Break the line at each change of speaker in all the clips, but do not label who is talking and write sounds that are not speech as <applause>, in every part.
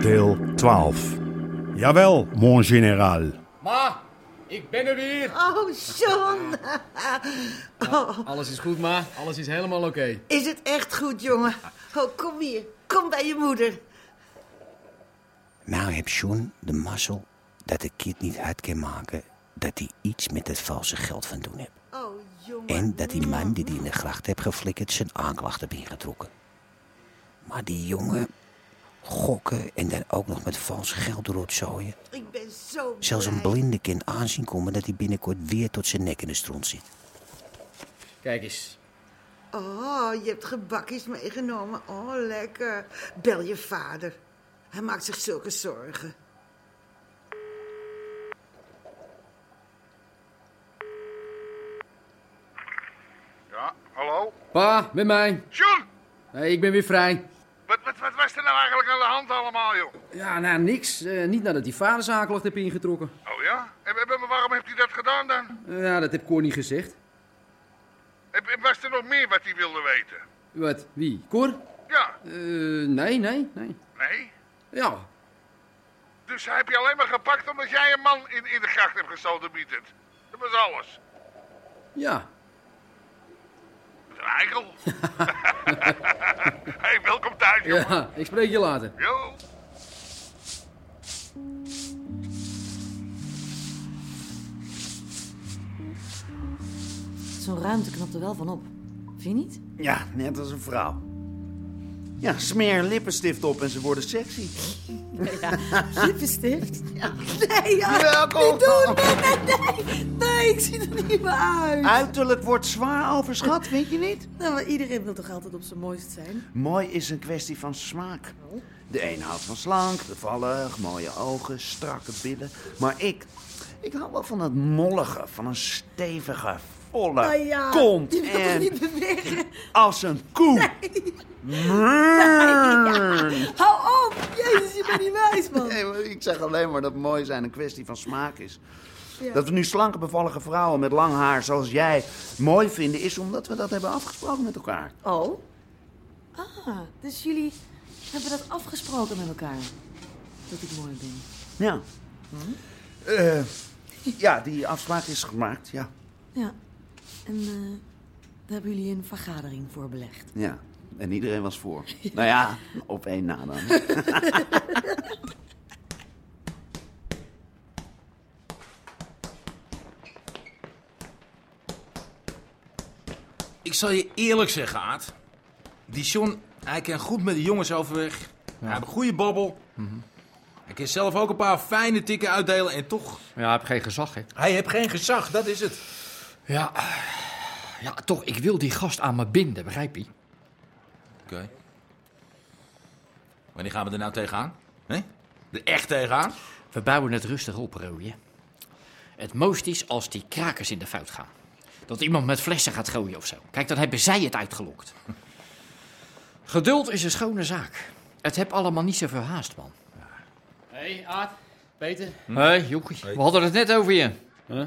Deel 12. Jawel, mon général.
Ma, ik ben er weer.
Oh, John. Oh,
Alles is goed, ma. Alles is helemaal oké.
is het echt goed, jongen? Oh, kom hier. Kom bij je moeder.
Nou heb Sjoen de mazzel dat de kid niet uit kan maken dat hij iets met het valse geld van doen heeft.
Oh, jongen.
En dat die man die hij in de gracht heeft geflikkerd zijn aanklacht heeft ingetrokken. Maar die jongen gokken en dan ook nog met vals geld rotzooien.
Ik ben zo
Zelfs een
blij.
blinde kind aanzien komen dat hij binnenkort weer tot zijn nek in de stront zit.
Kijk eens.
Oh, je hebt gebakjes meegenomen. Oh, lekker. Bel je vader. Hij maakt zich zulke zorgen.
Ja, hallo?
Pa, met mij.
John!
Hey, ik ben weer vrij.
Wat, wat, wat was er nou eigenlijk aan de hand allemaal, joh?
Ja, nou, niks. Eh, niet nadat die vader zijn aanklacht heeft ingetrokken.
Oh ja? En, en- maar waarom heeft hij dat gedaan dan?
Eh, ja, dat heb Cor niet gezegd.
En, en was er nog meer wat hij wilde weten?
Wat? Wie? Cor?
Ja,
Eh, nee, nee, nee.
nee?
Ja.
Dus hij heb je alleen maar gepakt omdat jij een man in, in de gracht hebt gestoten, Bietert. Dat was alles.
Ja.
Wat een <laughs> eikel. hey, welkom thuis, jongen.
Ja, ik spreek je later.
Jo.
Zo'n ruimte knapt er wel van op. Vind je niet?
Ja, net als een vrouw. Ja, smeer een lippenstift op en ze worden sexy.
Lippenstift?
Nee, ja.
Welkom!
Nee, ik zie er niet meer uit.
Uiterlijk wordt zwaar overschat, vind je niet?
Nou, maar iedereen wil toch altijd op zijn mooist zijn?
Mooi is een kwestie van smaak. De een houdt van slank, bevallig, mooie ogen, strakke billen. Maar ik, ik hou wel van dat mollige, van een stevige, volle
Nou ja,
kont.
die wil toch
en
niet bewegen?
als een koe. Mrrr.
Hou op! Jezus, je bent niet wijs, man.
Nee, maar ik zeg alleen maar dat mooi zijn een kwestie van smaak is.
Ja.
Dat we nu slanke, bevallige vrouwen met lang haar zoals jij mooi vinden, is omdat we dat hebben afgesproken met elkaar.
Oh? Ah, dus jullie hebben dat afgesproken met elkaar. Dat ik mooi ben.
Ja. Hm? Eh, ja, die afspraak is gemaakt, ja.
Ja. En eh, daar hebben jullie een vergadering voor belegd.
ja. En iedereen was <laughs> voor. Nou ja, op één na dan.
Ik zal je eerlijk zeggen, Aad. Die John, hij kan goed met de jongens overweg. Hij heeft een goede babbel. Hij kan zelf ook een paar fijne tikken uitdelen en toch...
Ja, heb geen gezag, hè?
Hij heeft geen gezag, dat is het.
Ja, ja, toch, ik wil die gast aan me binden, begrijp je?
Oké. Wanneer gaan we er nou tegenaan? Hè? Er echt tegenaan?
We bouwen het rustig op, Rooie. Het mooist is als die krakers in de fout gaan. Dat iemand met flessen gaat gooien of zo. Kijk, dan hebben zij het uitgelokt. <laughs> Geduld is een schone zaak. Het heb allemaal niet zo verhaast, man.
Hé, hey, Aad. Peter.
Hé, Jochie, we hadden het net over je.
Hm? Huh?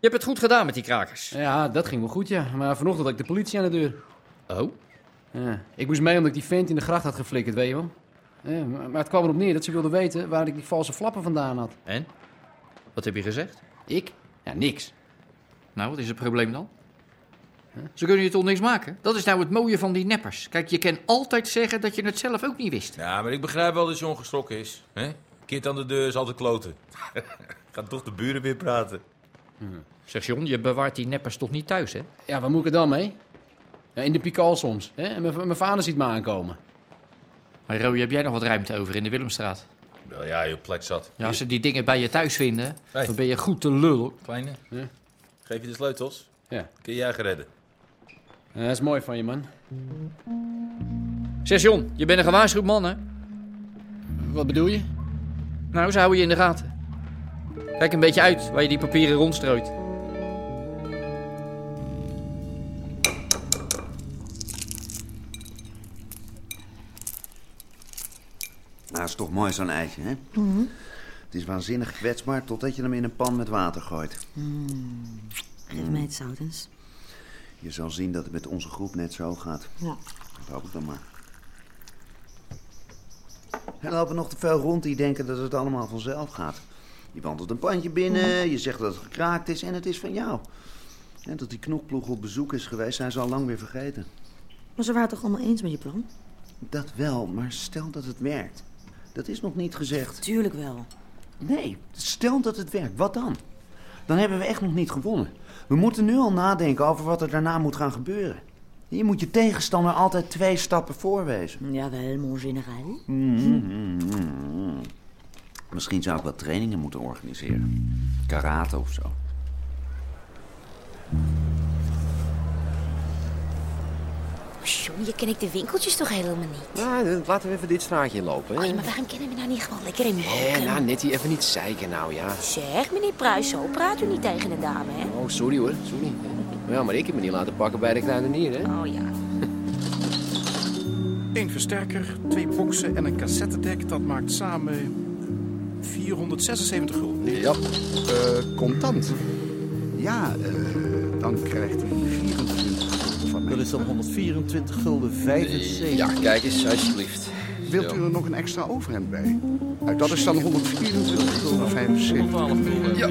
Je hebt het goed gedaan met die krakers.
Ja, dat ging wel goed, ja. Maar vanochtend had ik de politie aan de deur.
Oh?
Ja. Ik moest mee omdat ik die vent in de gracht had geflikkerd, weet je wel. Ja, maar maar het kwam erop neer dat ze wilden weten waar ik die valse flappen vandaan had.
En? Wat heb je gezegd?
Ik? Ja, niks.
Nou, wat is het probleem dan? Ze kunnen je toch niks maken? Dat is nou het mooie van die neppers. Kijk, je kan altijd zeggen dat je het zelf ook niet wist.
Ja, maar ik begrijp wel dat John geschrokken is. Hè? Kind aan de deur is altijd kloten. <laughs> Gaat toch de buren weer praten.
Zeg John, je bewaart die neppers toch niet thuis, hè?
Ja, waar moet ik er dan mee? Ja, in de pikal soms. Hè? En mijn- mijn vader ziet me aankomen.
Maar Roy, heb jij nog wat ruimte over in de Willemstraat?
Wel ja, je plek zat.
Ja, als ze die dingen bij je thuis vinden,
Hey.
dan ben je goed te lul.
Kleine,
Ja.
geef je de sleutels.
Ja.
Kun jij geredden.
Eh, dat is mooi van je, man.
Zeg John, je bent een gewaarschuwd man, hè?
Wat bedoel je?
Nou, ze houden je in de gaten. Kijk een beetje uit waar je die papieren rondstrooit.
Nou, is toch mooi zo'n eitje, hè? Het is waanzinnig kwetsbaar totdat je hem in een pan met water gooit.
Geef mij het zout eens.
Je zal zien dat het met onze groep net zo gaat.
Ja.
Dat hoop ik dan maar. Er lopen nog te veel rond die denken dat het allemaal vanzelf gaat. Je wandelt een pandje binnen, je zegt dat het gekraakt is en het is van jou. En dat die knokploeg op bezoek is geweest, zijn ze al lang weer vergeten.
Maar ze waren toch allemaal eens met je plan?
Dat wel, maar stel dat het werkt. Dat is nog niet gezegd.
Tuurlijk wel.
Nee, stel dat het werkt, wat dan? Dan hebben we echt nog niet gewonnen. We moeten nu al nadenken over wat er daarna moet gaan gebeuren. Je moet je tegenstander altijd twee stappen voorwezen.
Jawel, mon général.
Misschien zou ik wat trainingen moeten organiseren. Karate of zo.
Sjoe, je kent de winkeltjes toch helemaal niet?
Nou, dan laten we even dit straatje lopen.
Oei,
hè?
maar waarom kennen we nou niet gewoon lekker in
Hé,
Mokum?
nou, Nettie, even niet zeiken nou, ja.
Zeg, meneer Pruis, zo praat u niet tegen een dame, hè?
Oh, sorry hoor, sorry. Ja, maar ik heb me niet laten pakken bij de kruidenier, hè.
Oh ja.
Eén versterker, twee boksen en een cassettedek. Dat maakt samen 476 gulden.
Ja, eh, contant. Ja, eh, dan krijgt u 24 gulden van mij.
Dat is dan 124 gulden 75.
Ja, kijk eens,
alsjeblieft.
Wilt u er nog een extra overhemd bij? Nou, dat is dan 124 gulden 75. Ja,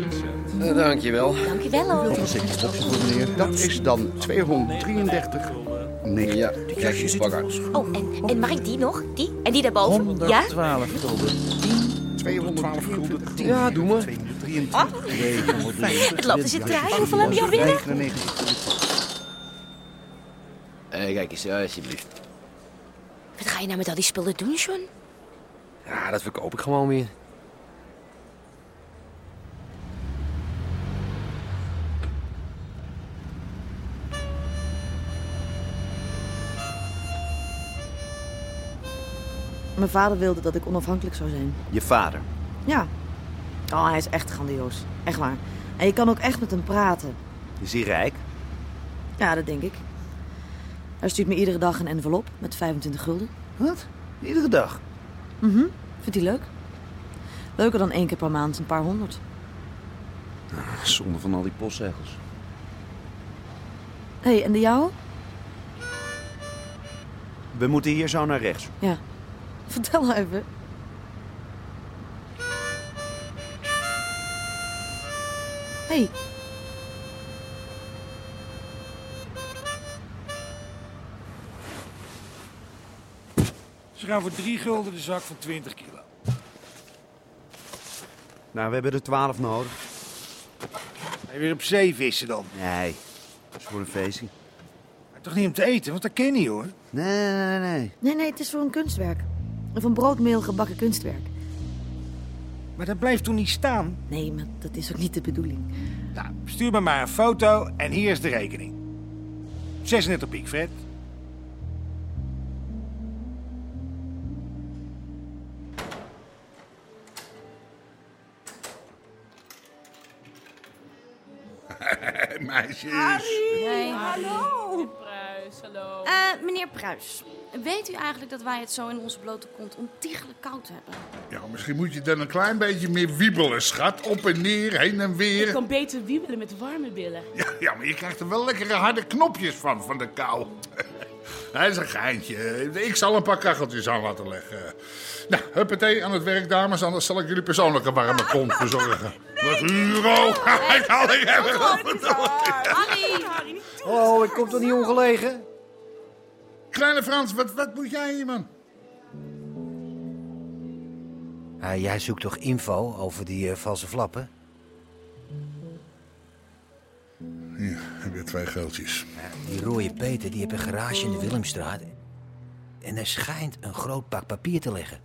Eh, dankjewel.
Dankjewel hoor.
Een zeker boxje voor meneer. Dat is dan 233. Nee.
Ja, kijk eens, pak uit.
Oh, en, en mag ik die nog? Die? En die daarboven? Ja?
112 gulden.
212 gulden.
Ja, doe maar.
Ah. Het loopt eens in trein. Hoeveel heb je al binnen?
Eh, kijk eens, alsjeblieft.
Wat ga je nou met al die spullen doen, John?
Ja, dat verkoop ik gewoon weer.
Mijn vader wilde dat ik onafhankelijk zou zijn.
Je vader.
Ja. Oh, hij is echt grandioos. Echt waar. En je kan ook echt met hem praten.
Is hij rijk?
Ja, dat denk ik. Hij stuurt me iedere dag een envelop met 25 gulden.
Wat? Iedere dag?
Mhm. Vindt hij leuk? Leuker dan één keer per maand een paar honderd.
Zonde van al die postzegels.
Hé, hey, en de jouwe? <laughs>
We moeten hier zo naar rechts.
Ja. Vertel nou even. Hé. Hey.
Ze gaan voor 3 gulden de zak van 20 kilo.
Nou, we hebben er 12 nodig.
En weer op zee vissen dan.
Nee, dat is voor een feestje.
Maar toch niet om te eten, want dat ken je niet, hoor.
Nee, nee, nee, nee.
Nee, nee, het is voor een kunstwerk. Of een broodmeel gebakken kunstwerk.
Maar dat blijft toen niet staan.
Nee, maar dat is ook niet de bedoeling.
Nou, stuur me maar een foto en hier is de rekening. 36 piek, Fred.
Meisjes.
hallo.
hallo.
Eh, meneer Pruis, weet u eigenlijk dat wij het zo in onze blote kont ontiegelijk koud hebben?
Ja, misschien moet je dan een klein beetje meer wiebelen, schat. Op en neer, heen en
Ik
weer.
kan beter wiebelen met warme billen.
Ja, ja, maar je krijgt er wel lekkere harde knopjes van, van de kou. <laughs> Hij is een geintje. Ik zal een paar kacheltjes aan laten leggen. Nou, huppatee, aan het werk, dames. Anders zal ik jullie persoonlijk een warme
<laughs>
kont bezorgen. Wat Hugo! <laughs> Ik had het
Harry!
Oh, ik kom toch niet ongelegen?
Kleine Frans, wat, wat moet jij hier, man?
Ah, jij zoekt toch info over die eh, valse flappen?
Hier, heb je twee geldjes.
Die rode Peter die heeft een garage in de Willemstraat. En er schijnt een groot pak papier te liggen.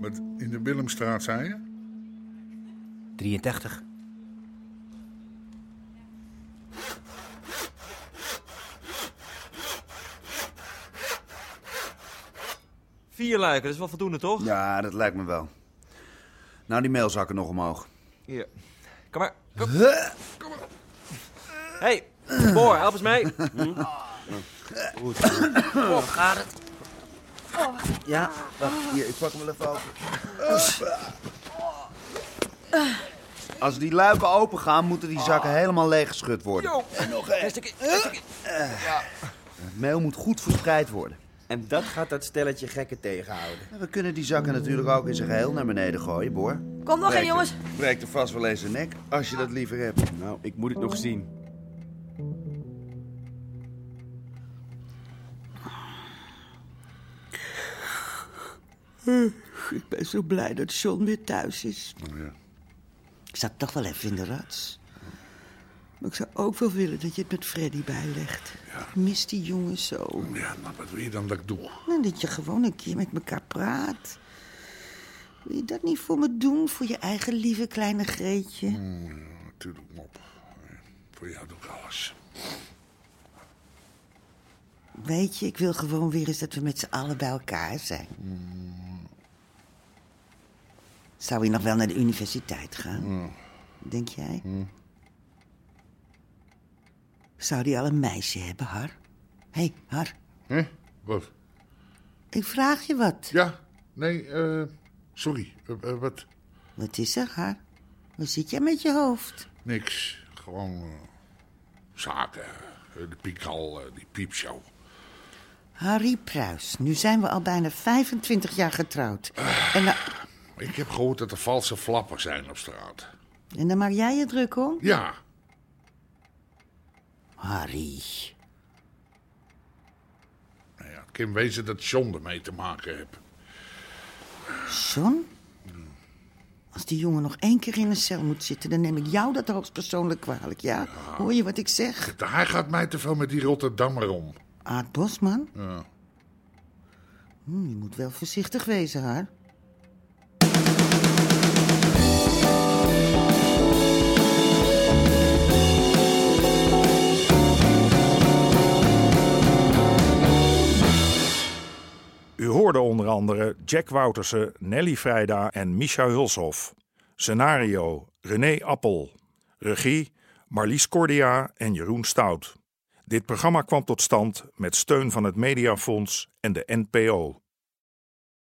Wat in de Willemstraat zei je?
83.
Vier luiken, dat is wel voldoende, toch?
Ja, dat lijkt me wel. Nou, die mailzakken nog omhoog.
Hier. Kom maar. Kom, Kom maar. Hey, Boor, help eens mee. Hm?
Goed.
Boor, gaat het?
Ja, wacht. Hier, ik pak hem wel even open. Als die luiken open gaan, moeten die zakken helemaal leeg geschud worden.
En nog één. Ja.
Het meel moet goed verspreid worden.
En dat gaat dat stelletje gekken tegenhouden.
En We kunnen die zakken natuurlijk ook in zijn geheel naar beneden gooien, Boor.
Kom nog
Breekt
in,
er-
jongens.
Breekt er vast wel eens een nek, als je dat liever hebt.
Nou, ik moet het nog zien.
Ik ben zo blij dat John weer thuis is. Ik zat toch wel even in de rats. Maar ik zou ook wel willen dat je het met Freddy bijlegt. Ik mis die jongen zo.
Ja, maar wat wil je dan dat ik doe?
Nou, dat je gewoon een keer met elkaar praat. Wil je dat niet voor me doen? Voor je eigen lieve kleine Greetje?
Natuurlijk, mop. Eh, Voor jou doe ik alles.
Weet je, ik wil gewoon weer eens dat we met z'n allen bij elkaar zijn. Zou je nog wel naar de universiteit gaan? Denk jij? Zou die al een meisje hebben, Har? Hé, hey, Har.
Hé, wat?
Ik vraag je wat.
Ja, nee, eh, sorry. Eh, eh, wat?
Wat is er, Har? Waar zit jij met je hoofd?
Niks. Gewoon eh, zaken. Eh, de piekal, eh, die piepshow.
Harry Pruis, nu zijn we al bijna 25 jaar getrouwd. En, dan
Ik heb gehoord dat er valse flappen zijn op straat.
en daar maak jij je druk om?
Ja.
Harry.
Nou ja, het kan wezen dat John ermee te maken heeft.
John? Als die jongen nog één keer in een cel moet zitten, dan neem ik jou dat hoogstpersoonlijk kwalijk, ja? Hoor je wat ik zeg?
Hij gaat mij te veel met die Rotterdammer om.
Aad Bosman?
Ja.
Hm, je moet wel voorzichtig wezen, haar.
U hoorde onder andere Jack Woutersen, Nelly Vrijda en Misha Hulshoff. Scenario René Appel. Regie Marlies Cordia en Jeroen Stout. Dit programma kwam tot stand met steun van het Mediafonds en de NPO.